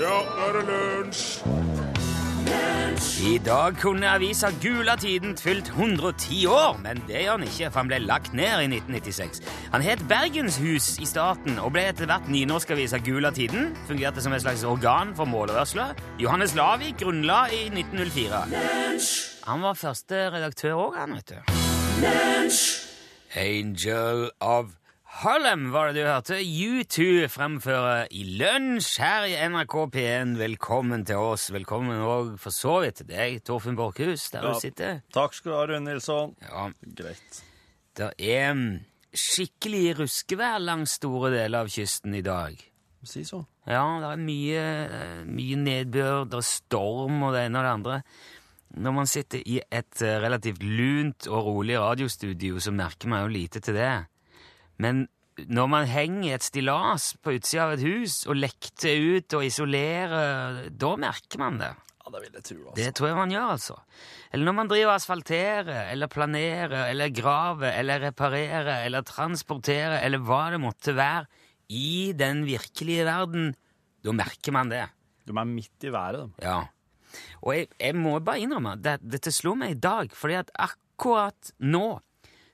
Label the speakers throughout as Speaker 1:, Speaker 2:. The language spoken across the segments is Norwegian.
Speaker 1: Ja, nå er det lunsj!
Speaker 2: I dag kunne avisa Gulatiden fylt 110 år, men det gjør den ikke, for han ble lagt ned i 1996. Han het Bergenshus i starten og ble etter hvert nynorskavisa Gulatiden. Fungerte som et slags organ for målrørsla. Johannes Lavik grunnla i 1904. Han var første redaktør òg, han, vet du. Angel of Harlem var det du hørte. U2 fremfører i lunsj her i NRK P1. Velkommen til oss. Velkommen òg for så vidt til deg, Torfinn Borchhus, der
Speaker 3: Ja.
Speaker 2: du sitter.
Speaker 3: Takk skal du ha, Rune Nilsson.
Speaker 2: Ja,
Speaker 3: Greit.
Speaker 2: Det er mm, skikkelig ruskevær langs store deler av kysten i dag.
Speaker 3: Si så.
Speaker 2: Ja, det er mye, eh, mye nedbør, det er storm og det ene og det andre. Når man sitter i et eh, relativt lunt og rolig radiostudio, så merker man jo lite til det. Men når man henger i et stillas på utsida av et hus og lekter ut og isolerer, da merker man det.
Speaker 3: Ja, det vil jeg tro, altså.
Speaker 2: Det tror jeg man gjør, altså. Eller når man driver og asfalterer, eller planerer, eller graver, eller reparerer, eller transporterer, eller hva det måtte være, i den virkelige verden, da merker man det.
Speaker 3: De er midt i været, de.
Speaker 2: Ja. Og jeg, jeg må bare innrømme, det, dette slo meg i dag, fordi at akkurat nå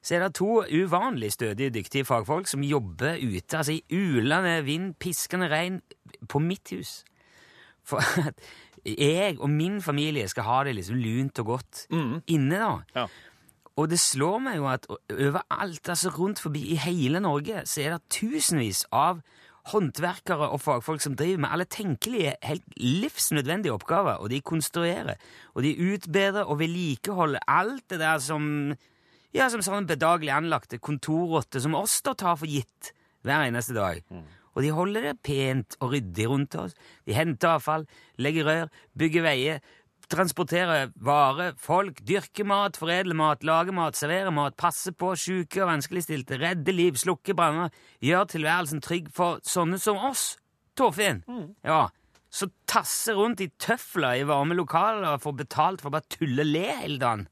Speaker 2: så er det to uvanlig stødige, dyktige fagfolk som jobber ute, altså i ulende vind, piskende regn, på mitt hus. For at jeg og min familie skal ha det liksom lunt og godt inne, da.
Speaker 3: Ja.
Speaker 2: Og det slår meg jo at overalt, altså rundt forbi i hele Norge, så er det tusenvis av håndverkere og fagfolk som driver med alle tenkelige, helt livsnødvendige oppgaver, og de konstruerer, og de utbedrer og vedlikeholder alt det der som ja, som sånne bedagelig anlagte kontorrotter som oss da tar for gitt hver eneste dag. Og de holder det pent og ryddig rundt oss. De henter avfall, legger rør, bygger veier, transporterer varer, folk, dyrker mat, foredler mat, lager mat, serverer mat, passer på syke og vanskeligstilte, redder liv, slukker branner, gjør tilværelsen trygg for sånne som oss. Torfinn! Ja. Så tasser rundt i tøfler i varme lokaler og får betalt for å bare tulle og le hele dagen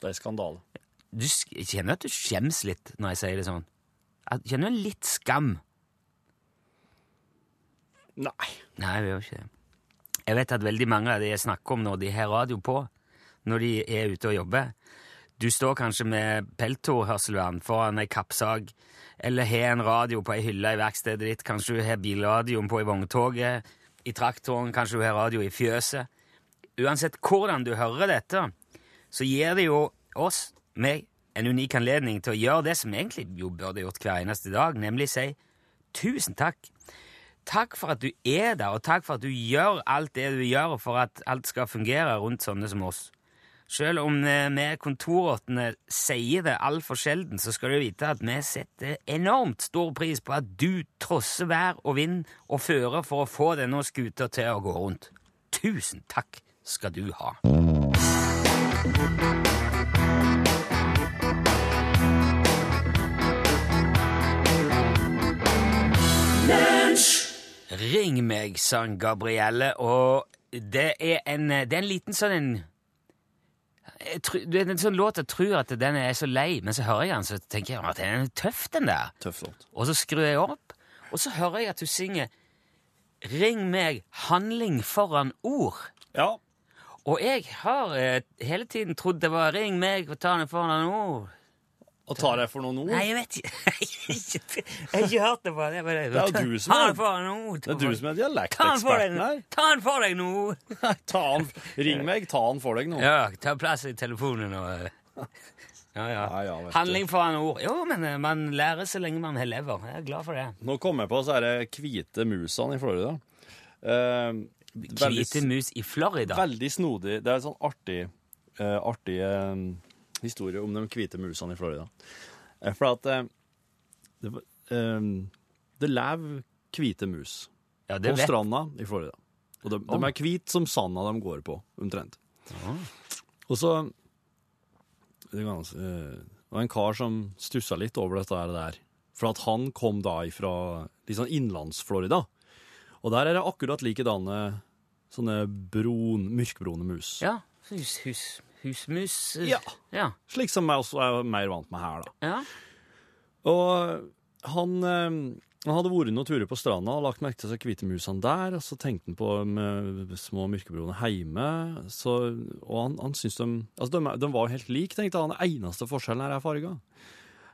Speaker 3: Det er skandale.
Speaker 2: du sk- jeg kjenner at du skjems litt når jeg sier det sånn. Jeg kjenner litt skam.
Speaker 3: Nei.
Speaker 2: Nei, jeg gjør ikke det. Jeg vet at veldig mange av de jeg snakker om når de har radio på, når de er ute og jobber Du står kanskje med peltorhørselvern foran ei kappsag, eller har en radio på ei hylle i verkstedet ditt, kanskje du har bilradioen på i vogntoget, i traktoren, kanskje du har radio i fjøset. Uansett hvordan du hører dette, så gir det jo oss, meg, en unik anledning til å gjøre det som egentlig jo burde gjort hver eneste dag, nemlig si tusen takk takk for at du er der, og takk for at du gjør alt det du gjør for at alt skal fungere rundt sånne som oss. Selv om eh, vi kontorrottene sier det altfor sjelden, så skal du vite at vi setter enormt stor pris på at du trosser vær og vind og føre for å få denne skuta til å gå rundt. Tusen takk skal du ha. Ring meg, sang Gabrielle, og det er en, det er en liten sånn en jeg tru- det er en sånn låt jeg tror at den er så lei, men så hører jeg den, så tenker jeg at den er tøff, den der.
Speaker 3: Tøff låt.
Speaker 2: Og så skrur jeg opp, og så hører jeg at hun synger Ring meg handling foran ord.
Speaker 3: Ja.
Speaker 2: Og jeg har eh, hele tiden trodd det var ring meg og ta den foran ord.
Speaker 3: Og tar jeg for noen ord?
Speaker 2: Nei, jeg vet ikke. Jeg har ikke hørt det på det. bare-
Speaker 3: Det er jo du som
Speaker 2: Ta
Speaker 3: er-
Speaker 2: den foran ord.
Speaker 3: Det er
Speaker 2: Ta
Speaker 3: du som er
Speaker 2: den for
Speaker 3: dialekteksperten her.
Speaker 2: deg, ta den for deg nå!
Speaker 3: Ta han, ring meg, ta han for deg nå.
Speaker 2: Ja, ta plass i telefonen og eh. Ja, ja.
Speaker 3: Ja, ja, vet du.
Speaker 2: Handling foran ord. Jo, men eh, man lærer så lenge man har lever. Jeg er glad for det.
Speaker 3: Nå kom jeg på så er det hvite musene i Florida. Eh, veldig,
Speaker 2: Hvite mus i Florida.
Speaker 3: veldig snodig. Det er en sånn artig, eh, artig eh, historie om de hvite musene i Florida. Eh, for at eh, det, eh, det lever hvite mus
Speaker 2: Ja, det
Speaker 3: på
Speaker 2: vet
Speaker 3: stranda i Florida. Og de, de er hvite som sanda de går på, omtrent. Og så det, er gans- eh, det var en kar som stussa litt over dette her der. For at han kom da ifra liksom innlands-Florida. Og der er det akkurat likedanne sånne brun, mørkbrune mus.
Speaker 2: Ja. Hus, hus, husmus. eh,
Speaker 3: Ja.
Speaker 2: ja.
Speaker 3: Slik som jeg også er mer vant med her, da.
Speaker 2: Ja.
Speaker 3: Og han eh, Han hadde vært noen turer på stranda og lagt merke til seg hvite musene der. Og så tenkte han på med små mørkebroene hjemme. Så, og han, han syntes de Altså, de, de var jo helt like, tenkte han. Den eneste forskjellen her er farga.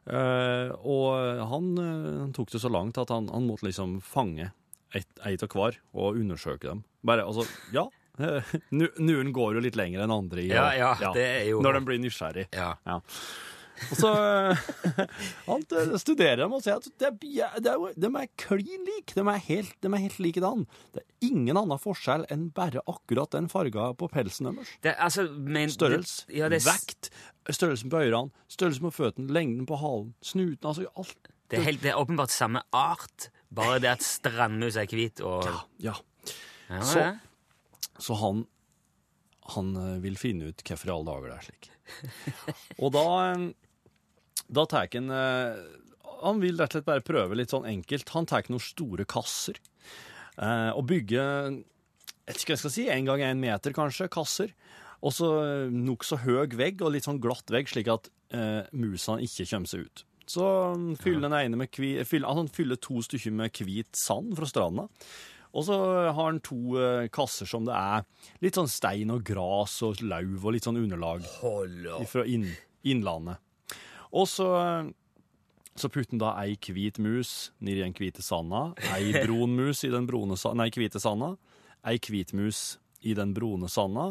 Speaker 3: Eh, og han, eh, han tok det så langt at han, han måtte liksom fange ett et av hver og undersøke dem. Bare, altså, ja. eh, nu- Noen går jo litt lenger enn andre i,
Speaker 2: Ja, ja, det er jo-
Speaker 3: når de blir nysgjerrig.
Speaker 2: Ja.
Speaker 3: Og så han eh, studerer dem og sier at det, er- det er, jo- de er klin like. De er helt, de er helt likedan. Det er ingen annen forskjell enn bare akkurat den farga på pelsen deres.
Speaker 2: Det, altså, men,
Speaker 3: Størrelse,
Speaker 2: det- ja, det, er s-
Speaker 3: vekt, størrelsen på ørene, størrelsen på føttene, lengden på halen, snuten altså alt.
Speaker 2: Det er, helt, det er åpenbart samme art, bare det at strandmus er hvit og
Speaker 3: Ja.
Speaker 2: Ja,
Speaker 3: så-
Speaker 2: ja.
Speaker 3: Så han, han eh, vil finne ut hvorfor i alle dager det er slik. Og da, eh, da tar han eh, Han vil rett og slett bare prøve litt sånn enkelt. Han tar noen store kasser eh, og bygger jeg vet ikke hva jeg skal si, en gang en meter kanskje, kasser. Og så nokså høy vegg og litt sånn glatt vegg, slik at eh, musene ikke kommer seg ut. Så han fyller den ene med kvi, fyller, altså han fyller to stykker med hvit sand fra stranda. Og så har han to eh, kasser som det er litt sånn stein og gras og lauv og litt sånn underlag
Speaker 2: Hold opp.
Speaker 3: fra inn, innlandet. Og så, så putter han da ei hvit mus ned i den hvite sanda, ei brun mus i den brune sa- nei, hvite sanda, ei hvit mus i den brune sanda,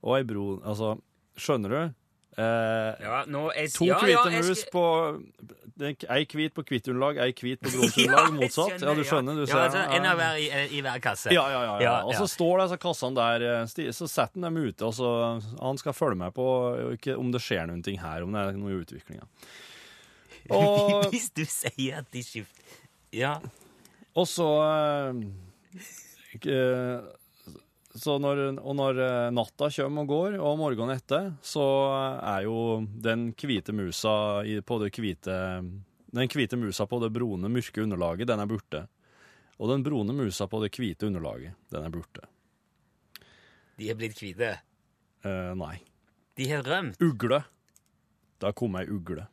Speaker 3: og ei brun Altså, skjønner du? Eh,
Speaker 2: Ja, nå er,
Speaker 3: to
Speaker 2: ja, ja,
Speaker 3: hvite
Speaker 2: jeg
Speaker 3: mus
Speaker 2: skal-
Speaker 3: på Ei hvit på hvitt underlag, ei hvit på brunt
Speaker 2: Ja,
Speaker 3: underlag,
Speaker 2: jeg
Speaker 3: motsatt. Ja, du skjønner, du
Speaker 2: ja.
Speaker 3: ser.
Speaker 2: Ja, altså, en
Speaker 3: ja.
Speaker 2: av hver i, i hver kasse.
Speaker 3: Ja, ja, ja.
Speaker 2: Ja,
Speaker 3: ja. Og så
Speaker 2: ja.
Speaker 3: står disse kassene der, eh, sti- så setter han dem ute, og så han skal følge med på eh, ikke- om det skjer noen ting her, om det er noe i utviklinga. Og,
Speaker 2: Hvis du sier at de skifter Ja.
Speaker 3: og så eh, ikke- eh, så når, Og når eh, natta kommer og går, og morgenen etter, så er jo den hvite musa i- på det hvite Den hvite musa på det brune, mørke underlaget, den er borte. Og den brune musa på det hvite underlaget, den er borte.
Speaker 2: De er blitt hvite.
Speaker 3: Eh, nei.
Speaker 2: De har rømt.
Speaker 3: Ugle. Da kom ei ugle.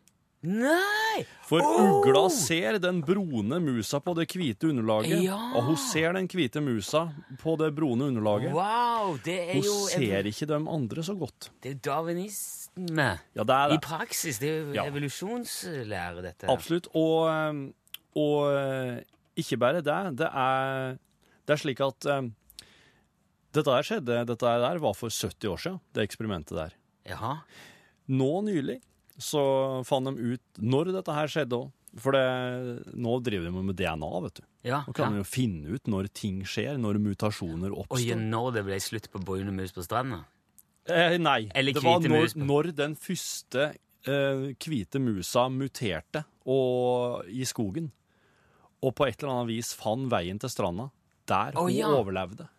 Speaker 2: Nei!
Speaker 3: For ugla ser den brune musa på det hvite underlaget.
Speaker 2: Ja.
Speaker 3: Og hun ser den hvite musa på det brune underlaget.
Speaker 2: Wow! Det er
Speaker 3: Hun
Speaker 2: jo
Speaker 3: ser ikke de andre så godt.
Speaker 2: Det er jo darwinisme.
Speaker 3: Ja, det er
Speaker 2: I
Speaker 3: det.
Speaker 2: praksis. Det er jo
Speaker 3: Ja.
Speaker 2: evolusjonslære, dette.
Speaker 3: Absolutt. Og, ehm, og eh, ikke bare det. Det er, det er slik at ehm, dette her skjedde, dette her der var for 70 år siden, det eksperimentet der.
Speaker 2: Jaha.
Speaker 3: Nå nylig så fant de ut når dette her skjedde òg. For det, nå driver de med DNA, vet du.
Speaker 2: Ja.
Speaker 3: Nå kan
Speaker 2: ja.
Speaker 3: man jo finne ut når ting skjer, når mutasjoner
Speaker 2: Og ja,
Speaker 3: oppstår.
Speaker 2: når det ble slutt på brune mus på stranda?
Speaker 3: eh, nei,
Speaker 2: Eller
Speaker 3: det var
Speaker 2: hvite
Speaker 3: når,
Speaker 2: mus.
Speaker 3: når den første eh, hvite musa muterte og, i skogen, og på et eller annet vis fant veien til stranda, der
Speaker 2: Å,
Speaker 3: hun
Speaker 2: ja.
Speaker 3: overlevde.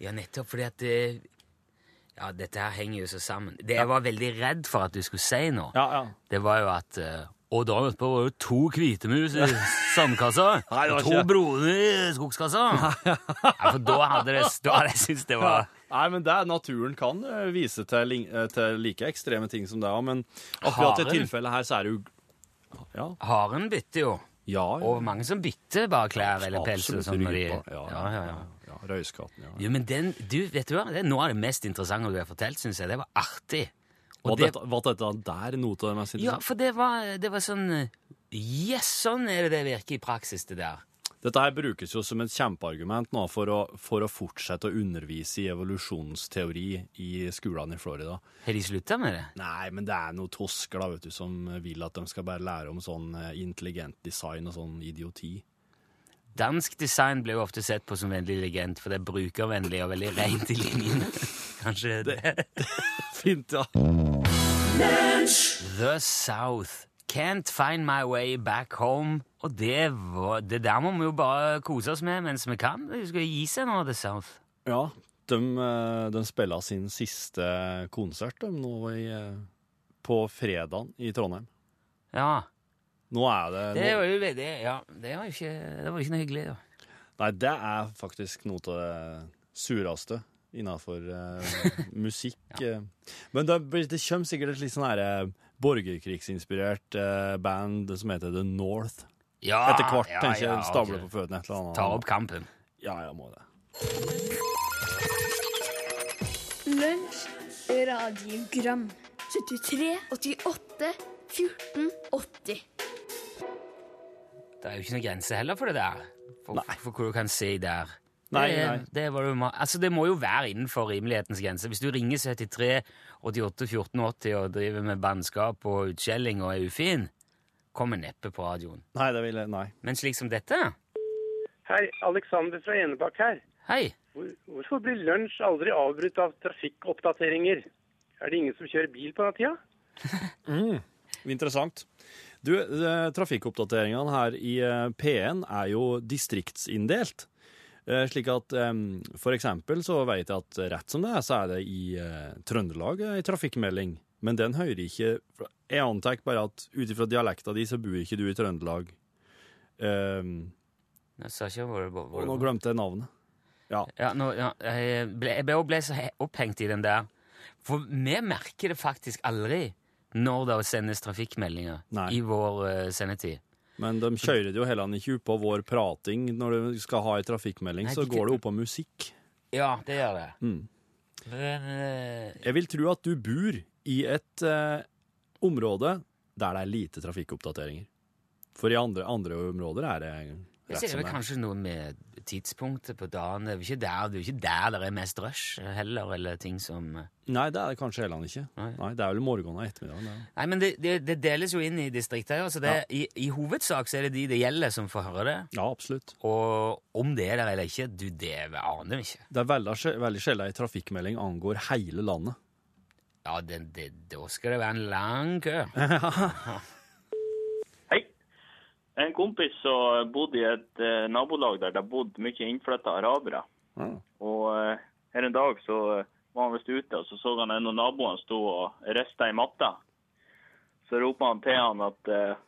Speaker 2: Ja, nettopp fordi at det, Ja, dette her henger jo så sammen. Det jeg var veldig redd for at du skulle si nå,
Speaker 3: Ja, ja.
Speaker 2: det var jo at eh, Og dagen etterpå var det jo to hvite mus i sandkassa.
Speaker 3: det var
Speaker 2: og to
Speaker 3: ikke-
Speaker 2: brune i skogskassa. Ja, for da hadde, det, da hadde jeg syntes det var
Speaker 3: Nei, men det er naturen kan eh, vise til, ling- eh, til like ekstreme ting som det òg, men akkurat i
Speaker 2: Haren.
Speaker 3: tilfellet her så er det jo Ja.
Speaker 2: Haren bytter jo.
Speaker 3: ja, ja.
Speaker 2: Og mange som bytter bare klær eller pels. og
Speaker 3: Absolutt
Speaker 2: sånn når de-
Speaker 3: rypa. Ja, ja, ja. ja. Røyskatten, ja.
Speaker 2: Jo, men den, du, vet du hva? Det er noe av det mest interessante du har fortalt, syns jeg. Det var artig. Og
Speaker 3: Var
Speaker 2: det-
Speaker 3: dette, var dette der noe av det mest
Speaker 2: Ja,
Speaker 3: interessante?
Speaker 2: for det var, det var sånn Yes, sånn er det det virker i praksis, det der.
Speaker 3: Dette her brukes jo som et kjempeargument nå for å, for å fortsette å undervise i evolusjonsteori i skolene i Florida.
Speaker 2: Har de slutta med det?
Speaker 3: Nei, men det er noen tosker da, vet du, som vil at de skal bare lære om sånn eh, intelligent design og sånn idioti.
Speaker 2: Dansk design ble jo ofte sett på som veldig elegant, for det er brukervennlig og veldig rent i linjene. Kanskje det.
Speaker 3: Fint, ja.
Speaker 2: The South. Can't find my way back home. Og det, var, det der må vi jo bare kose oss med mens vi kan. Vi skal gi seg nå, The South.
Speaker 3: Ja, de, eh, de spiller sin siste konsert de, nå i, eh, på fredagen i Trondheim.
Speaker 2: Ja.
Speaker 3: Nå er det...
Speaker 2: Det
Speaker 3: nå-
Speaker 2: var jo det, ja, det var jo ikke, det var jo ikke noe hyggelig. Da.
Speaker 3: Nei, det er faktisk noe av det sureste innafor musikk. eh. Men det, blir- det kommer sikkert et litt sånn her, eh, borgerkrigsinspirert eh, band som heter The North.
Speaker 2: Ja,
Speaker 3: etter hvert.
Speaker 2: Ah, ja,
Speaker 3: tenker
Speaker 2: ja,
Speaker 3: jeg stable
Speaker 2: ok.
Speaker 3: på føttene et eller annet.
Speaker 2: Tar opp kampen.
Speaker 3: Ja, jeg må det.
Speaker 4: Lunsj Radiogram 73 88 14 80
Speaker 2: Det er jo ikke noen grense heller for det der. For, for hva du kan si der.
Speaker 3: Nei,
Speaker 2: det,
Speaker 3: nei.
Speaker 2: Det, var det jo ma- altså, det må jo være innenfor rimelighetens grense. Hvis du ringer 73 88 14 80 og driver med bannskap og utskjelling og er ufin, kommer neppe på radioen.
Speaker 3: Nei, det vil jeg Nei.
Speaker 2: Men slik som dette
Speaker 5: Hei, Alexander fra Enebakk her.
Speaker 2: Hei!
Speaker 5: Hvor, hvorfor blir lunsj aldri avbrutt av trafikkoppdateringer? Er det ingen som kjører bil på den tida?
Speaker 3: Interessant. Du, eh, trafikkoppdateringene her i eh, P1 er jo distriktsinnndelt. Eh, Slik at em, for eksempel så vet jeg at rett som det er, så er det i eh, Trøndelag ei trafikkmelding. Men den hører ikke fra- Jeg antar bare at ut ifra dialekta di, så bor ikke du i Trøndelag. Em,
Speaker 2: Jeg sa ikke hvor det var.
Speaker 3: og nå glemte jeg navnet.
Speaker 2: Ja, nå, ja, jeg ble, jeg ble, ble så he- opphengt i den der. For vi merker det faktisk aldri når det sendes trafikkmeldinger
Speaker 3: Nei.
Speaker 2: i vår eh, sendetid.
Speaker 3: Men de kjører det jo heller ikke oppå vår prating. Når du skal ha ei trafikkmelding,
Speaker 2: Nei,
Speaker 3: så
Speaker 2: de-
Speaker 3: går det oppå musikk.
Speaker 2: Ja, det gjør det.
Speaker 3: Mm.
Speaker 2: Men, eh,
Speaker 3: Jeg vil tro at du bor i et eh, område der det er lite trafikkoppdateringer. For i andre, andre områder er det
Speaker 2: jeg
Speaker 3: rett
Speaker 2: ser det
Speaker 3: som
Speaker 2: vel
Speaker 3: det er.
Speaker 2: kanskje noe med tidspunktet på dagen. Det er jo ikke der det, er jo ikke der det er mest rush heller, eller ting som eh,
Speaker 3: Nei, det er det kanskje heller ikke. Nei.
Speaker 2: Nei.
Speaker 3: Det er vel morgenen og ettermiddagen. det.
Speaker 2: Nei, men det, det, det deles jo inn i distrikter. ja, Så det, i, I hovedsak så er det de det gjelder, som får høre det.
Speaker 3: Ja, absolutt.
Speaker 2: Og om det er der eller ikke, du, det aner vi ikke.
Speaker 3: Det er veldig, sj- veldig sjelden en trafikkmelding angår hele landet.
Speaker 2: Ja, det, det, da skal det være en lang kø.
Speaker 6: Hei. En kompis som bodde i et eh, nabolag der det bodde mye innflytta arabere. Og eh, her en dag så eh, var han visst ute, og så så han en av naboene sto og rista i matta. Så ropa han til han at eh,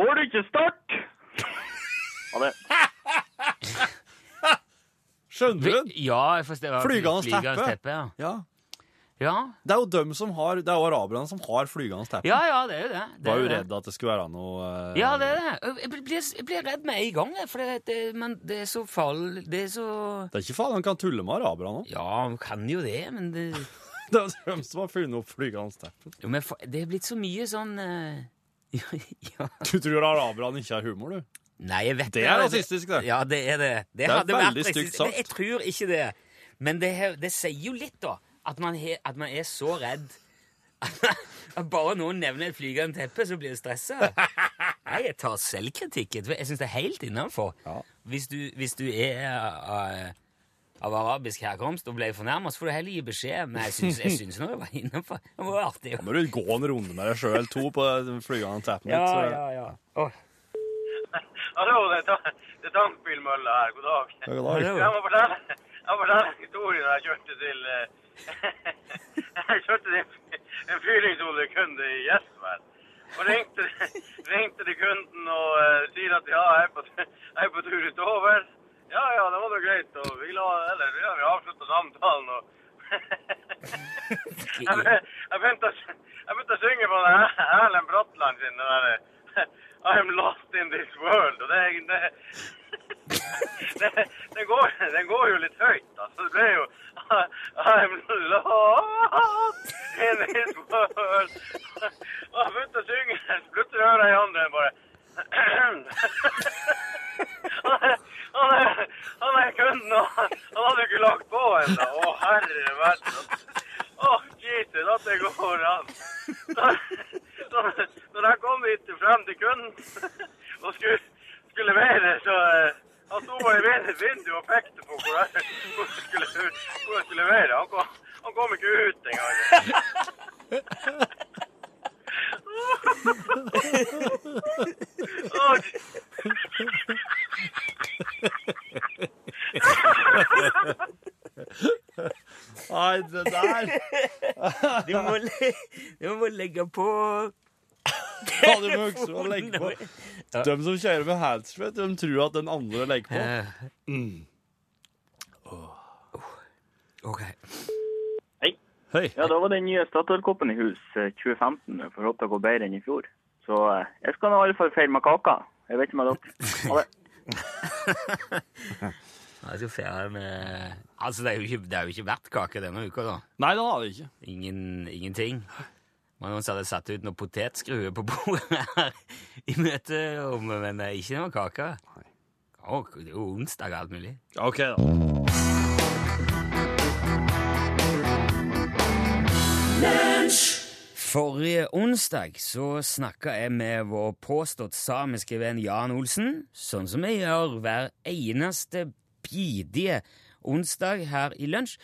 Speaker 6: Får du ikke start? Ja, det,
Speaker 3: Skjønner du? den?
Speaker 2: Ja, jeg forstår. hva-
Speaker 3: Flygende teppe.
Speaker 2: teppe ja.
Speaker 3: Ja.
Speaker 2: Ja.
Speaker 3: Det er jo dem som har, det er jo araberne som har flygende teppe.
Speaker 2: ja, ja, det er jo det. det
Speaker 3: Var
Speaker 2: er
Speaker 3: jo
Speaker 2: det.
Speaker 3: redd at det skulle være noe eh,
Speaker 2: Ja, det er det. Jeg blir, jeg blir redd med en gang, jeg, for det, det, men det er så fall... Det er så
Speaker 3: Det er ikke faen han kan tulle med araberne.
Speaker 2: Ja, man kan jo det, men det,
Speaker 3: Det er dem som har funnet opp flygende teppe.
Speaker 2: jo, men fa- det er blitt så mye sånn eh, ja, ja.
Speaker 3: Du tror araberne ikke har humor, du?
Speaker 2: Nei, jeg vet
Speaker 3: Det er rasistisk, det.
Speaker 2: Ja, det er det. Det,
Speaker 3: er
Speaker 2: hadde vært
Speaker 3: veldig stygt
Speaker 2: rasistisk.
Speaker 3: sagt.
Speaker 2: Men Jeg tror ikke det. Men det, her- det sier jo litt, da. At man, he, at man er så redd at bare noen nevner et flygende teppe, så blir du stressa. Nei, jeg tar selvkritikk. Jeg syns det er helt innafor.
Speaker 3: Ja.
Speaker 2: Hvis, du- hvis du er eh, av arabisk herkomst og ble fornærma, så får du heller gi beskjed. Men jeg syns- jeg syns nå det var innafor. Det var artig.
Speaker 3: Må du gå en runde med deg sjøl to på den flygende tappen
Speaker 2: Ja,
Speaker 3: så-
Speaker 2: ja, ja. Åh,
Speaker 5: Hallo, det er Tankbilmølla her. God dag.
Speaker 3: Ja, god dag.
Speaker 2: hallo.
Speaker 5: Jeg må fortelle, jeg må fortelle en historie når jeg kjørte til eh, Jeg kjørte til en- en fyringsoljekunde i Gjesvær. Og ringte, ringte til kunden og eh, sier at ja, jeg er på, jeg er på tur utover. Ja, ja, det var da greit. Og vi la Eller ja, vi avslutta samtalen og jeg, be- jeg, begynte å, sy- jeg begynte å synge på den her- Erlend Bratland sin den derre I'm lost in this world. Og det, er- det, det, det, går, det går jo litt høyt, da. Så det ble jo I'm lost in this world. Og jeg begynte å synge, så plutselig hører jeg i andre bare han er- han er- han er kunden, og han han hadde jo ikke lagt på ennå. Å, herre verden. Å, Jesus, at det går an. Da- da- Når jeg kom hit til- frem til kunden og skulle, skulle levere, så eh, han sto bare i vind- vinduet og pekte på hvor jeg, hvor jeg, skulle, hvor jeg skulle levere. Han kom, han kom ikke ut engang. Å, Jesus.
Speaker 3: Nei, det der
Speaker 2: Du må, le, du må legge på
Speaker 3: Ta du med øksa og legg på. De som kjører med handsfred, de tror at den andre legger på.
Speaker 2: Eh. Ok.
Speaker 3: Hei.
Speaker 6: ja, da var den nye Statoil-koppen i hus eh, 2015 for håpet det går bedre enn i fjor. Så eh, jeg skal nå i alle fall feire med kaka. Jeg vet ikke med dere. Ha det.
Speaker 2: Ja, Jeg skal feire med Altså, det er jo ikke, det er jo ikke vertkake denne uka, da.
Speaker 3: Nei, det har vi ikke.
Speaker 2: Ingen, ingenting. Men noen som hadde satt ut noen potetskrue på bordet her i møterommet, men det er ikke noe kake. Å, det er jo onsdag og alt mulig.
Speaker 3: OK, da.
Speaker 2: Forrige onsdag så snakka jeg med vår påstått samiske venn Jan Olsen, sånn som jeg gjør hver eneste bidige onsdag her i lunsj.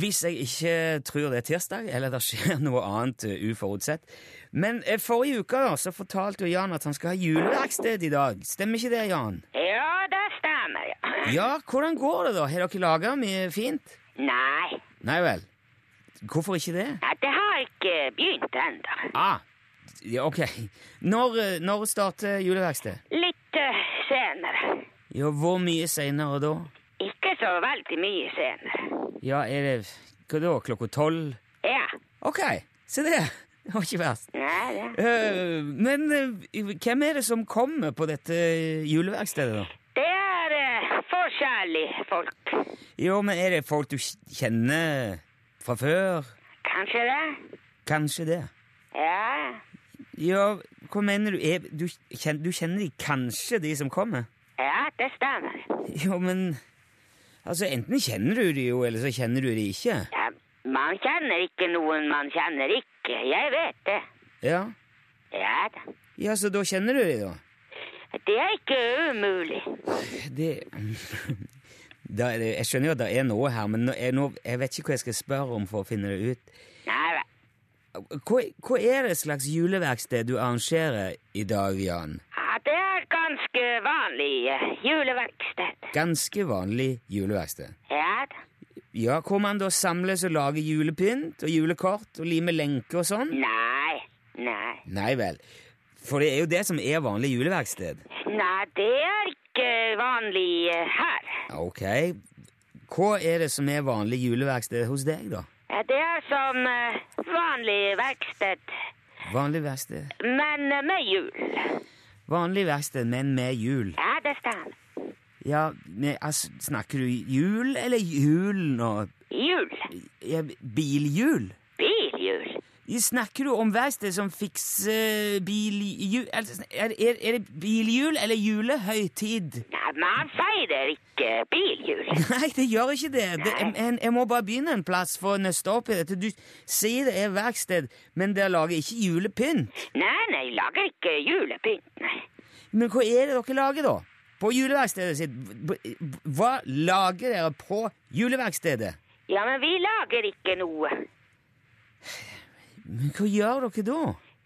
Speaker 2: Hvis jeg ikke tror det er tirsdag, eller det skjer noe annet eh, uforutsett. Men eh, forrige uke da, så fortalte jo Jan at han skal ha juleverksted i dag. Stemmer ikke det, Jan?
Speaker 7: Ja, det stemmer, ja.
Speaker 2: Ja, hvordan går det, da? Har dere laga mye fint?
Speaker 7: Nei,
Speaker 2: Nei vel. Hvorfor ikke det?
Speaker 7: ja, det har ikke begynt ennå.
Speaker 2: Ah, ja, ok. Når, eh, når starter juleverkstedet?
Speaker 7: Litt eh, senere.
Speaker 2: Ja, hvor mye senere da?
Speaker 7: Ikke så veldig mye senere.
Speaker 2: Ja, er det Hva da? Klokka tolv?
Speaker 7: Ja.
Speaker 2: Ok, se det. Det var ikke verst.
Speaker 7: Nei, det.
Speaker 2: Eh, men eh, hvem er det som kommer på dette juleverkstedet, da?
Speaker 7: det er eh, forskjellige folk.
Speaker 2: Jo, men er det folk du kj- kjenner fra før?
Speaker 7: Kanskje det?
Speaker 2: Kanskje det.
Speaker 7: Ja.
Speaker 2: Ja, hva mener du? Er, du, kjenner, du kjenner de kanskje, de som kommer?
Speaker 7: Ja, det stemmer.
Speaker 2: Jo, men Altså, enten kjenner du de jo, eller så kjenner du de ikke.
Speaker 7: Ja, man kjenner ikke noen man kjenner ikke. Jeg vet det.
Speaker 2: Ja.
Speaker 7: Ja da.
Speaker 2: Ja, så da kjenner du de, da?
Speaker 7: Det er ikke umulig.
Speaker 2: Det da, er det- Jeg skjønner jo at det er noe her, men nå- jeg, nå, jeg vet ikke hva jeg skal spørre om for å finne det ut.
Speaker 7: Nei vel.
Speaker 2: Hva, hva er det slags juleverksted du arrangerer i dag, Jan?
Speaker 7: Ja, det er ganske vanlig eh, juleverksted.
Speaker 2: Ganske vanlig juleverksted.
Speaker 7: Ja da.
Speaker 2: Ja, hvor man da samles og lager julepynt og julekort og limer lenker og sånn?
Speaker 7: Nei. Nei.
Speaker 2: Nei vel. For det er jo det som er vanlig juleverksted.
Speaker 7: Nei, det er ikke vanlig eh, her.
Speaker 2: Ok. Hva er det som er vanlig juleverksted hos deg, da?
Speaker 7: Eh, Det er som eh, vanlig verksted,
Speaker 2: Vanlig verksted.
Speaker 7: men eh, med hjul.
Speaker 2: Vanlig verksted, men med jul.
Speaker 7: Ja, det stemmer.
Speaker 2: Ja, men, altså, Snakker du jul eller jul nå?
Speaker 7: Hjul.
Speaker 2: Ja, bilhjul?
Speaker 7: Bilhjul.
Speaker 2: Snakker du om verksted som fikser bilhjul altså, er, er, er det bilhjul eller julehøytid?
Speaker 7: Nei, man feirer ikke bilhjul.
Speaker 2: Nei, det gjør ikke det. det jeg,
Speaker 7: Nei.
Speaker 2: jeg, jeg må bare begynne en plass for å nøste opp i dette. Du sier det er verksted, men dere lager ikke julepynt.
Speaker 7: Nei, nei, lager ikke julepynt, nei.
Speaker 2: Men hva er det dere lager, da? På juleverkstedet sitt? Hva lager dere på juleverkstedet?
Speaker 7: Ja, men vi lager ikke noe.
Speaker 2: Men hva gjør dere da?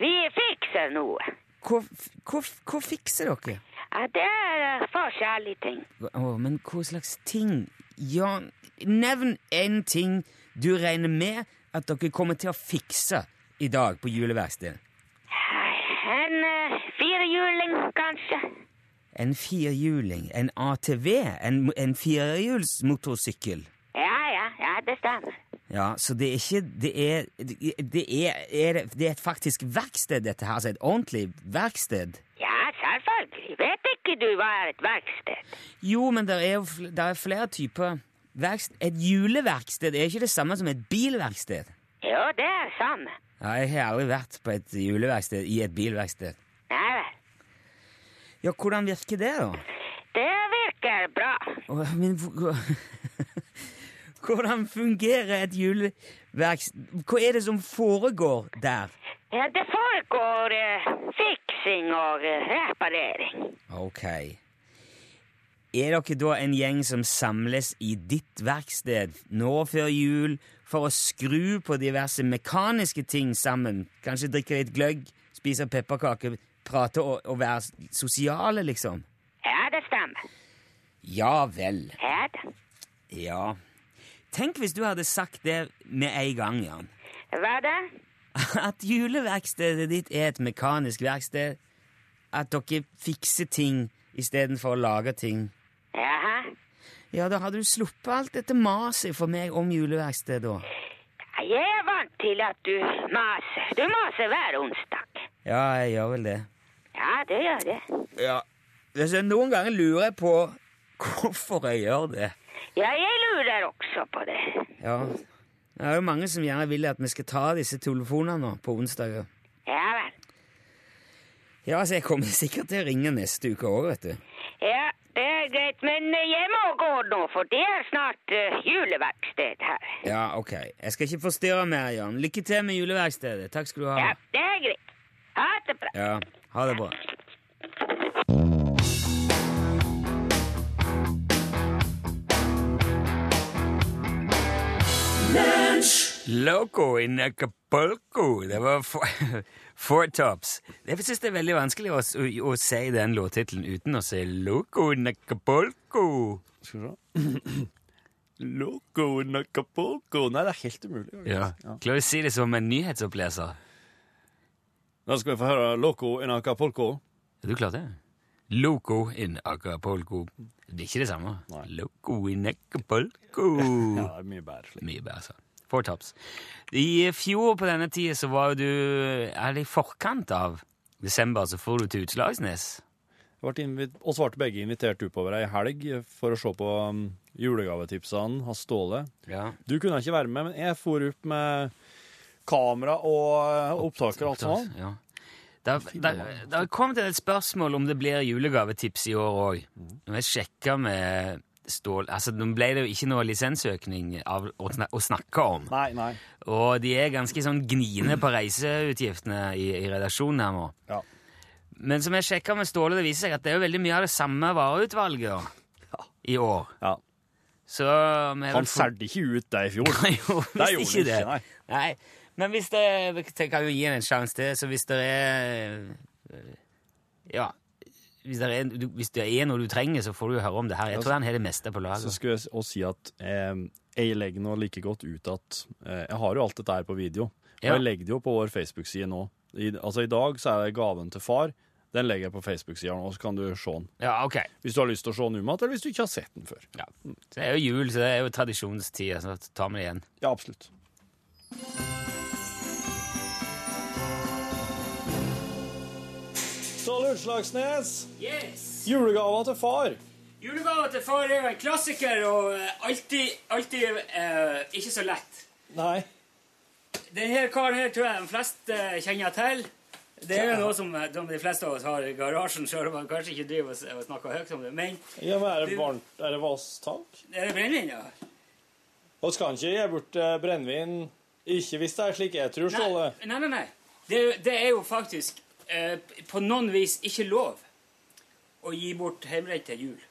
Speaker 7: Vi fikser noe.
Speaker 2: Hva, hva, hva fikser dere?
Speaker 7: Ja, det er eh, forskjellige ting.
Speaker 2: Hva- Å, men hva slags ting? Ja, nevn en ting du regner med at dere kommer til å fikse i dag på juleverkstedet.
Speaker 7: En eh, firehjuling, kanskje.
Speaker 2: En firhjuling, en ATV, en, en firehjulsmotorsykkel.
Speaker 7: Ja, ja, ja, det stemmer.
Speaker 2: Ja, så det er ikke Det er, det er, er, det, det er et faktisk verksted, dette her. Altså et ordentlig verksted.
Speaker 7: Ja, selvfølgelig. Vet ikke du hva er et verksted?
Speaker 2: Jo, men det er, jo fl- der er flere typer verksted. Et juleverksted er ikke det samme som et bilverksted.
Speaker 7: Jo, det er samme.
Speaker 2: Ja, jeg har aldri vært på et juleverksted i et bilverksted.
Speaker 7: Nei vel.
Speaker 2: Ja, hvordan virker det, da?
Speaker 7: Det virker bra.
Speaker 2: Å, Men hvor- hvor- Hvordan fungerer et juleverksted Hva er det som foregår der?
Speaker 7: Ja, det foregår eh, fiksing og eh, reparering.
Speaker 2: Ok. Er dere da en gjeng som samles i ditt verksted nå før jul for å skru på diverse mekaniske ting sammen? Kanskje drikke litt gløgg, spise pepperkaker, prate og, og være s- sosiale, liksom?
Speaker 7: Ja, det stemmer.
Speaker 2: Ja vel.
Speaker 7: Ja, da.
Speaker 2: Ja. Tenk hvis du hadde sagt det med en gang, Jan.
Speaker 7: Hva da?
Speaker 2: At juleverkstedet ditt er et mekanisk verksted. At dere fikser ting istedenfor å lage ting.
Speaker 7: Jaha.
Speaker 2: Ja, da hadde du sluppet alt dette maset for meg om juleverksted, da.
Speaker 7: Jeg er vant til at du maser. Du maser hver onsdag.
Speaker 2: Ja, jeg gjør vel det.
Speaker 7: Ja, det gjør det.
Speaker 2: Ja,
Speaker 8: altså, Noen ganger lurer jeg på hvorfor jeg gjør det.
Speaker 7: Ja, jeg lurer også på det.
Speaker 8: Ja. Det er jo mange som gjerne vil at vi skal ta disse telefonene nå på onsdager.
Speaker 7: Ja vel.
Speaker 8: Ja, så jeg kommer sikkert til å ringe neste uke òg, vet du.
Speaker 7: Ja, det er greit, men eh, jeg må gå nå, for det er snart eh, juleverksted her.
Speaker 8: Ja, ok. Jeg skal ikke forstyrre mer, Jan. Lykke til med juleverkstedet. Takk skal du ha.
Speaker 7: Ja, det er greit. Ha det bra.
Speaker 8: Ja, ha det bra. Loco in Acapulco. Det var Four, four Tops. Jeg synes det er veldig vanskelig å, å, å si den låttittelen uten å si Loco in Acapulco.
Speaker 3: Skal vi se. Loco Nacapoco. Nei, det er helt umulig.
Speaker 2: Ja.
Speaker 3: Ja.
Speaker 2: Klarer du å si det som en nyhetsoppleser?
Speaker 3: Da skal vi få høre Loco in Acapulco.
Speaker 2: Ja, du klarte det. Loco in Acapulco. Det er ikke det samme. Loco in Acapulco.
Speaker 3: Ja, det er mye bedre slik.
Speaker 2: Mye bedre, altså. Four tops. I fjor på denne tida så var jo du Er det i forkant av desember så får du til Utslagsnes?
Speaker 3: Vi ble invit- oss ble begge invitert oppover ei helg for å se på um, julegavetipsene hans Ståle.
Speaker 2: Ja.
Speaker 3: Du kunne ikke være med, men jeg for opp med kamera og uh, opptaker og alt sånt.
Speaker 2: Ja. Der, der, der kom det et spørsmål om det blir julegavetips i år òg. Når jeg sjekka med Stål Altså, Nå ble det jo ikke noe lisensøkning av, å, sna- å snakke om.
Speaker 3: Nei, nei.
Speaker 2: Og de er ganske sånn gniende på reiseutgiftene i, i redaksjonen her nå.
Speaker 3: Ja.
Speaker 2: Men som jeg sjekka med Ståle, det viser seg at det er jo veldig mye av det samme vareutvalget i år.
Speaker 3: Ja.
Speaker 2: Så vi har
Speaker 3: Han
Speaker 2: vel fått-
Speaker 3: solgte ikke ut det i fjor.
Speaker 2: Nei, jo,
Speaker 3: Det
Speaker 2: visst
Speaker 3: gjorde han ikke,
Speaker 2: nei. Men hvis det Jeg kan jo gi den en sjanse til, så hvis det er Ja. Hvis det er, du- hvis det er noe du trenger, så får du jo høre om det her. Jeg tror han har det meste på
Speaker 3: Så
Speaker 2: lager.
Speaker 3: skulle jeg s- og si at eh, jeg legger nå like godt ut at eh, Jeg har jo alt dette her på video. Og
Speaker 2: Ja.
Speaker 3: jeg legger det jo på vår Facebook-side nå. I, altså I dag så er det gaven til far. Den legger jeg på Facebook-sida nå, så kan du se den.
Speaker 2: Ja, ok.
Speaker 3: Hvis du har lyst til å se den umatt, eller hvis du ikke har sett den før.
Speaker 2: Ja. Så det er jo jul, så det er jo tradisjonstid, så tar vi det igjen.
Speaker 3: Ja, absolutt. Ståle Utslagsnes,
Speaker 2: Yes!
Speaker 3: julegava til far.
Speaker 2: Julegaver til far er jo en klassiker, og eh, alltid, alltid eh, ikke så lett.
Speaker 3: Nei.
Speaker 2: Denne karen her tror jeg de fleste eh, kjenner til. Det er jo noe som eh, de fleste av oss har i garasjen, selv om man kanskje ikke driver og s- og snakker høyt om det. Men
Speaker 3: Ja, men er
Speaker 2: det
Speaker 3: varmt? Er det vasstak?
Speaker 2: er det brennevin, ja?
Speaker 3: Vi kan ikke gi bort eh, brennevin, ikke hvis det er slik jeg tror, Ståle.
Speaker 2: Nei, nei, nei. nei. Det, er jo- det er jo faktisk eh, på noen vis ikke lov å gi bort hjemmebrent til jul.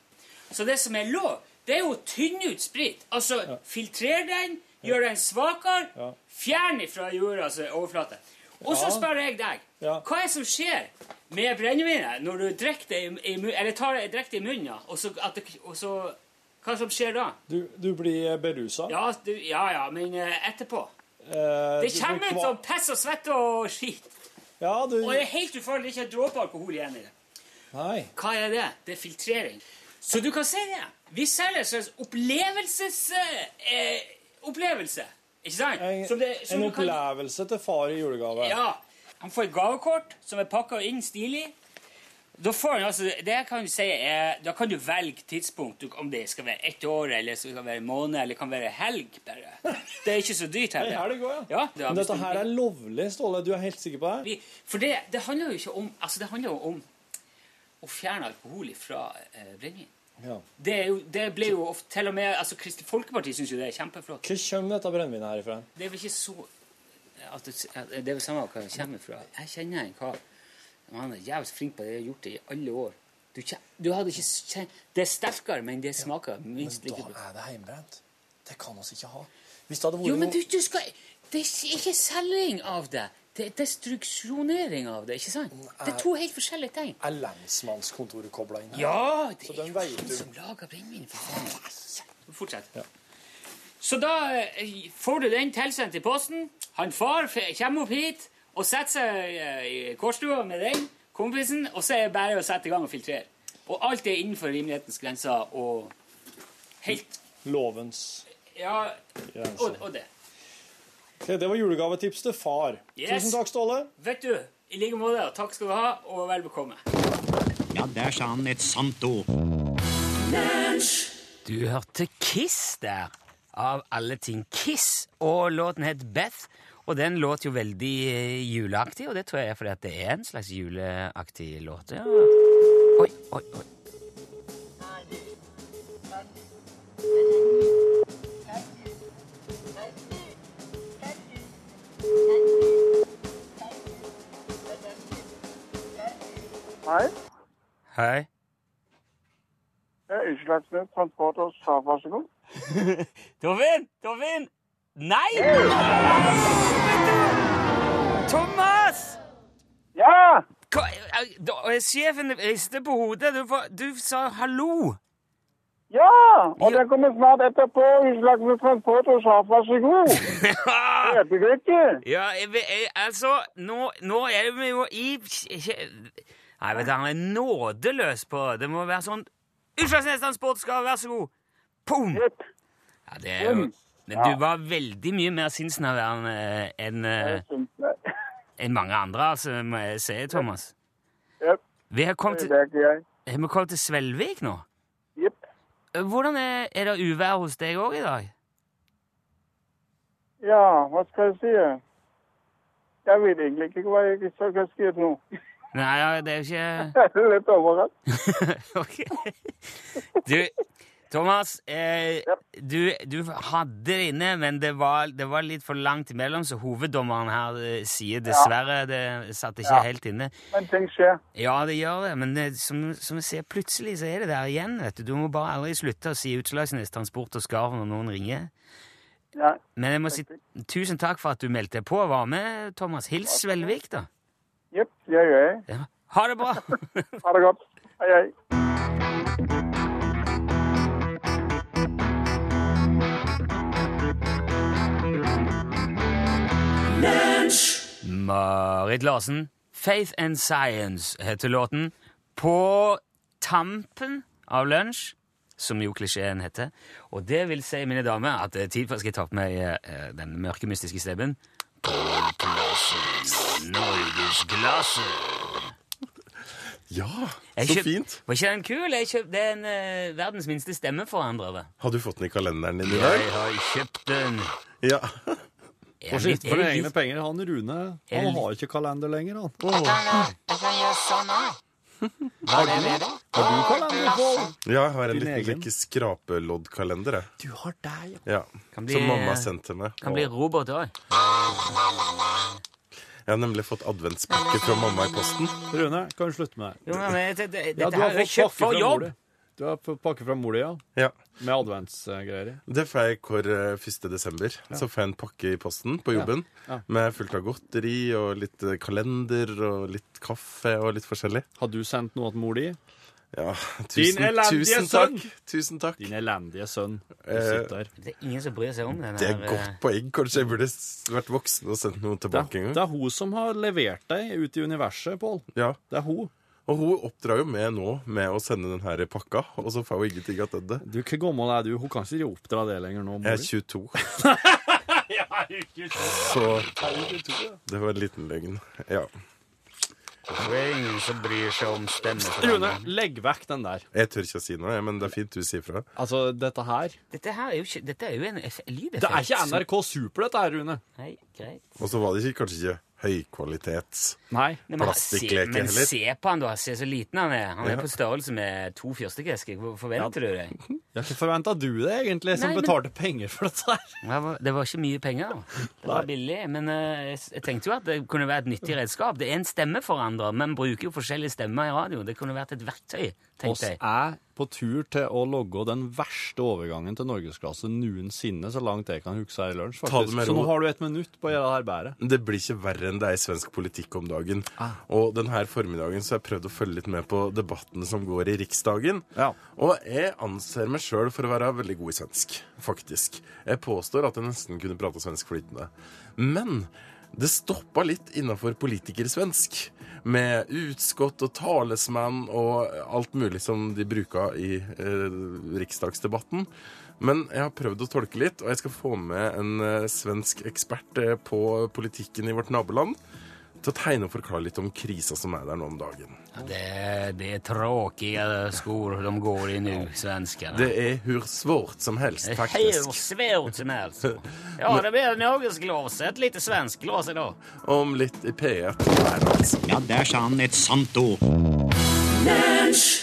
Speaker 2: Så det som er lov, det er jo å tynne ut sprit. Altså filtrere den, gjøre den svakere,
Speaker 3: Ja.
Speaker 2: fjern ifra jordas altså, overflate. Og så
Speaker 3: Ja.
Speaker 2: spør jeg deg,
Speaker 3: Ja.
Speaker 2: hva er det som skjer med brennevinet når du drikker det i, i munnen, eller tar det direkte i munnen, ja, og så, at det, og så Hva som skjer da?
Speaker 3: Du, du blir berusa.
Speaker 2: Ja, du, ja, ja, men eh, etterpå?
Speaker 3: Eh,
Speaker 2: Det
Speaker 3: du blir
Speaker 2: kommer sånn- ut
Speaker 3: kva-
Speaker 2: som piss og svette og skitt.
Speaker 3: Ja, du
Speaker 2: Og det er helt ufarlig. Ikke en dråpe alkohol igjen i det.
Speaker 3: Nei.
Speaker 2: Hva er det? Det er filtrering. Så du kan si det. Vi selger en slags opplevelses... Eh, opplevelse. Ikke sant?
Speaker 3: En,
Speaker 2: Som det- som
Speaker 3: en
Speaker 2: du kan-
Speaker 3: opplevelse til far i julegave.
Speaker 2: Ja. Han får et gavekort som er pakka inn stilig. Da får han altså, det jeg kan si er, da kan du velge tidspunkt, du- om det skal være ett år, eller skal det være en måned, eller kan være helg. bare. Det er ikke så dyrt
Speaker 3: Ei
Speaker 2: heller.
Speaker 3: helg òg, ja.
Speaker 2: Ja, det har
Speaker 3: Men dette
Speaker 2: bestemt-
Speaker 3: her er lovlig, Ståle. Du er helt sikker på det?
Speaker 2: Vi- For det, det handler jo ikke om Altså, det handler jo om å fjerne alkohol fra eh, brennevin.
Speaker 3: Ja.
Speaker 2: Det, er jo, det ble jo ofte til og med altså, Kristelig Folkeparti syns jo det er kjempeflott.
Speaker 3: Hvor kommer dette brennevinet her ifra?
Speaker 2: Det er vel ikke så at det, at det er vel samme hva det kommer fra. Jeg kjenner en kar Han er jævlig flink på det, har gjort det i alle år. Du, kje- du hadde ikke kjent Det er sterkere, men det smaker minst like godt.
Speaker 3: er det heimbrent. Det kan oss ikke ha. Hvis det hadde vært
Speaker 2: Jo, men
Speaker 3: noe-
Speaker 2: du, du skal Det er ikke- ikke selging av det. Det er destruksjonering av det, ikke sant? Det er to helt forskjellige ting.
Speaker 3: Mm, Er lensmannskontoret kobla inn?
Speaker 2: Ja, det
Speaker 3: den
Speaker 2: er jo
Speaker 3: vet
Speaker 2: han
Speaker 3: du.
Speaker 2: som lager brennevin. for faen. Fortsett. Så da eh, får du den tilsendt i posten. Han far f- kommer opp hit og setter seg eh, i kårstua med den kompisen, og så er det bare å sette i gang og filtrere. Og alt er innenfor rimelighetens grenser og helt
Speaker 3: Lovens
Speaker 2: Ja,
Speaker 3: grense.
Speaker 2: og, og det.
Speaker 3: Ok, det var julegavetips til far.
Speaker 2: Yes.
Speaker 3: Tusen takk, Ståle.
Speaker 2: Vet du, i like måte, og takk skal du ha, og vel bekomme.
Speaker 9: Ja, Der sa han et sant ord.
Speaker 2: Du hørte Kiss der, av alle ting. Kiss, og låten het Beth. Og den låt jo veldig eh, juleaktig, og det tror jeg er fordi at det er en slags juleaktig låt. Ja. Oi, oi, oi.
Speaker 5: Hei.
Speaker 2: Hei.
Speaker 5: Det er Utslagsnes Transport og Safasjon.
Speaker 2: Torfinn! Torfinn! Nei! Helvete! Thomas!
Speaker 5: Ja!
Speaker 2: Hva, eh, da- eh, sjefen rister på hodet. Du, får- du sa hallo.
Speaker 5: Ja! Og det kommer snart etterpå Utslagsnes Transport og Safasjon.
Speaker 2: Ja,
Speaker 5: Kjempegrykke.
Speaker 2: jeg, vet- jeg, altså nå, nå er vi jo i Nei, vet du, han er nådeløs på Det må være sånn Utslagsnes Transport skal vær så god! Pum!
Speaker 5: Jepp.
Speaker 2: Ja, det er jo men du var veldig mye mer sinnsnærværende enn eh,
Speaker 5: sånn,
Speaker 2: enn mange andre, altså, må jeg si, Thomas.
Speaker 5: Jepp.
Speaker 2: Vi har kommet
Speaker 5: Det
Speaker 2: til,
Speaker 5: er ikke jeg.
Speaker 2: har vi kommet til Svelvik nå.
Speaker 5: Jepp.
Speaker 2: Hvordan er, er det uvær hos deg òg i dag?
Speaker 5: Ja, hva skal jeg si? Jeg vet egentlig ikke hva jeg skal skrive nå.
Speaker 2: Nei, ja, det er jo ikke
Speaker 5: Jeg er litt overrasket.
Speaker 2: Ok. Du, Thomas, eh, du, du hadde det inne, men det var, det var litt for langt imellom, så hoveddommeren her eh, sier dessverre det satt ikke helt inne.
Speaker 5: Men ting skjer.
Speaker 2: Ja, det gjør det, men eh, som, som vi ser, plutselig så er det der igjen, vet du. Du må bare aldri slutte å si Utslagsnes Transport og Skarv når noen ringer.
Speaker 5: Ja.
Speaker 2: Men jeg må si tusen takk for at du meldte deg på og var med, Thomas. Hils Svelvik, da.
Speaker 5: Jepp, det gjør jeg.
Speaker 2: Ja. Ha det bra!
Speaker 5: Ha det godt. Hei, hei.
Speaker 2: Marit Larsen. Faith and Science heter låten. På tampen av lunsj, som jo klisjeen heter. Og det vil si, mine damer, at det er tid for at jeg skal ta på meg eh, den mørke, mystiske stemmen.
Speaker 1: Ja,
Speaker 2: Jeg
Speaker 1: så
Speaker 2: kjøpt-
Speaker 1: fint.
Speaker 2: Var ikke den kul? Jeg kjøpt, det er en eh, verdens minste stemmeforandrer.
Speaker 1: Har du fått den i kalenderen din i dag?
Speaker 2: Jeg har kjøpt den.
Speaker 1: Ja.
Speaker 2: Jeg er
Speaker 3: Og
Speaker 2: litt-
Speaker 3: skitt for
Speaker 2: jeg er
Speaker 3: egne
Speaker 2: litt-
Speaker 3: penger. Han Rune han
Speaker 2: Jeg-
Speaker 3: har ikke kalender lenger, han.
Speaker 7: Jeg kan gjøre sånn òg.
Speaker 3: Har du kalender på?
Speaker 1: ja, jeg har en
Speaker 3: Din
Speaker 1: liten sånn
Speaker 3: egen?
Speaker 1: like, skrapeloddkalender. jeg.
Speaker 3: Du har deg, ja.
Speaker 1: Ja.
Speaker 2: Kan bli-
Speaker 1: Som mamma sendte meg.
Speaker 2: kan bli Robert òg.
Speaker 1: Jeg har nemlig fått adventspakke fra mamma i posten.
Speaker 3: Rune, kan du slutte med det?
Speaker 2: Jo, men dette, dette
Speaker 3: Ja, du
Speaker 2: her
Speaker 3: har
Speaker 2: har jeg kjøpt
Speaker 3: fått pakke
Speaker 2: for
Speaker 3: fra mor
Speaker 2: jobb!
Speaker 3: di. Du har fått pakke fra mor di, ja.
Speaker 1: Ja.
Speaker 3: Med adventsgreier i.
Speaker 1: Det får jeg hver eh, 1. desember. Så får jeg en pakke i posten på jobben
Speaker 3: Ja.
Speaker 1: med fullt av godteri og litt eh, kalender og litt kaffe og litt forskjellig.
Speaker 3: Har du sendt noe til mor di?
Speaker 1: Ja,
Speaker 3: Din
Speaker 1: tusen,
Speaker 3: elendige
Speaker 1: tusen
Speaker 3: sønn!
Speaker 1: takk. Tusen takk.
Speaker 3: Din elendige sønn. Du
Speaker 1: Eh,
Speaker 3: sitter der.
Speaker 2: Det er ingen som bryr seg om den
Speaker 1: Det er
Speaker 2: her,
Speaker 1: et
Speaker 2: eh,
Speaker 1: godt poeng. Kanskje jeg burde s- vært voksen og sendt noe
Speaker 3: Det
Speaker 1: tilbake
Speaker 3: er,
Speaker 1: en
Speaker 3: det
Speaker 1: gang.
Speaker 3: er hun som har levert deg ut i universet, Pål.
Speaker 1: Ja.
Speaker 3: Det er hun.
Speaker 1: Og hun oppdrar jo meg nå med å sende den her pakka, og så får hun ingenting av det.
Speaker 3: Du, Hvor gammel er du? Hun kan ikke oppdra det lenger nå.
Speaker 1: Jeg
Speaker 3: Mor.
Speaker 1: er 22. Så det var en liten løgn. Ja.
Speaker 2: Det er ingen som bryr seg om
Speaker 3: Rune,
Speaker 2: stemmeforandring.
Speaker 3: legg vekk den der.
Speaker 1: Jeg tør ikke å si noe, jeg, men det er fint du sier fra.
Speaker 3: Altså, dette her
Speaker 2: Dette her er jo, ikke, dette er jo en eff- lydeffekt.
Speaker 3: Det er ikke NRK Super, dette her, Rune.
Speaker 2: Nei, greit.
Speaker 1: Og så var det ikke, kanskje ikke høykvalitets.
Speaker 3: Nei.
Speaker 2: Nei, men, se,
Speaker 1: Plastikkleke
Speaker 2: men
Speaker 1: heller.
Speaker 2: se på han, da. Se så liten han er. Han er
Speaker 1: Ja.
Speaker 2: på størrelse med to fyrstikkesker. Hvor forventer du det?
Speaker 3: Jeg har ikke forventa du det, egentlig, som
Speaker 2: Nei, men-
Speaker 3: betalte penger for dette her.
Speaker 2: Det var, det var ikke mye penger. da. Det var billig. Men eh, jeg s- jeg tenkte jo at det kunne være et nyttig redskap. Det er en stemmeforandrer, men bruker jo forskjellige stemmer i radio. Det kunne vært et verktøy,
Speaker 3: Oss
Speaker 2: tenkte jeg.
Speaker 3: er på tur til å logge den verste overgangen til norgesklasse noensinne, så langt jeg kan huske her i lunsj,
Speaker 1: Ta det
Speaker 3: faktisk.
Speaker 1: med
Speaker 3: Så
Speaker 1: ro.
Speaker 3: nå har du et minutt på å gjøre det her bedre.
Speaker 1: Det blir ikke verre enn det er i svensk politikk om dagen. Og denne formiddagen så har jeg prøvd å følge litt med på debatten som går i Riksdagen.
Speaker 3: Ja.
Speaker 1: Og jeg anser meg sjøl for å være veldig god i svensk, faktisk. Jeg påstår at jeg nesten kunne prate svensk flytende. Men det stoppa litt innafor politikersvensk. Med utskott og talesmenn og alt mulig som de bruka i eh, riksdagsdebatten. Men jeg har prøvd å tolke litt, og jeg skal få med en eh, svensk ekspert eh, på politikken i vårt naboland til å tegne og forklare litt om krisa som er der nå om dagen.
Speaker 2: Det, det är tråkiga skor de går i nu, svenskarna.
Speaker 1: Det er hvor svårt som helst,
Speaker 2: Det är hur
Speaker 1: faktisk.
Speaker 2: svårt som helst. Ja, det blir norgesglas, ett lite svenskt glas idag.
Speaker 1: Om litt i P1. Der, altså.
Speaker 9: Ja, der sa han et sant ord.
Speaker 10: Lunsj!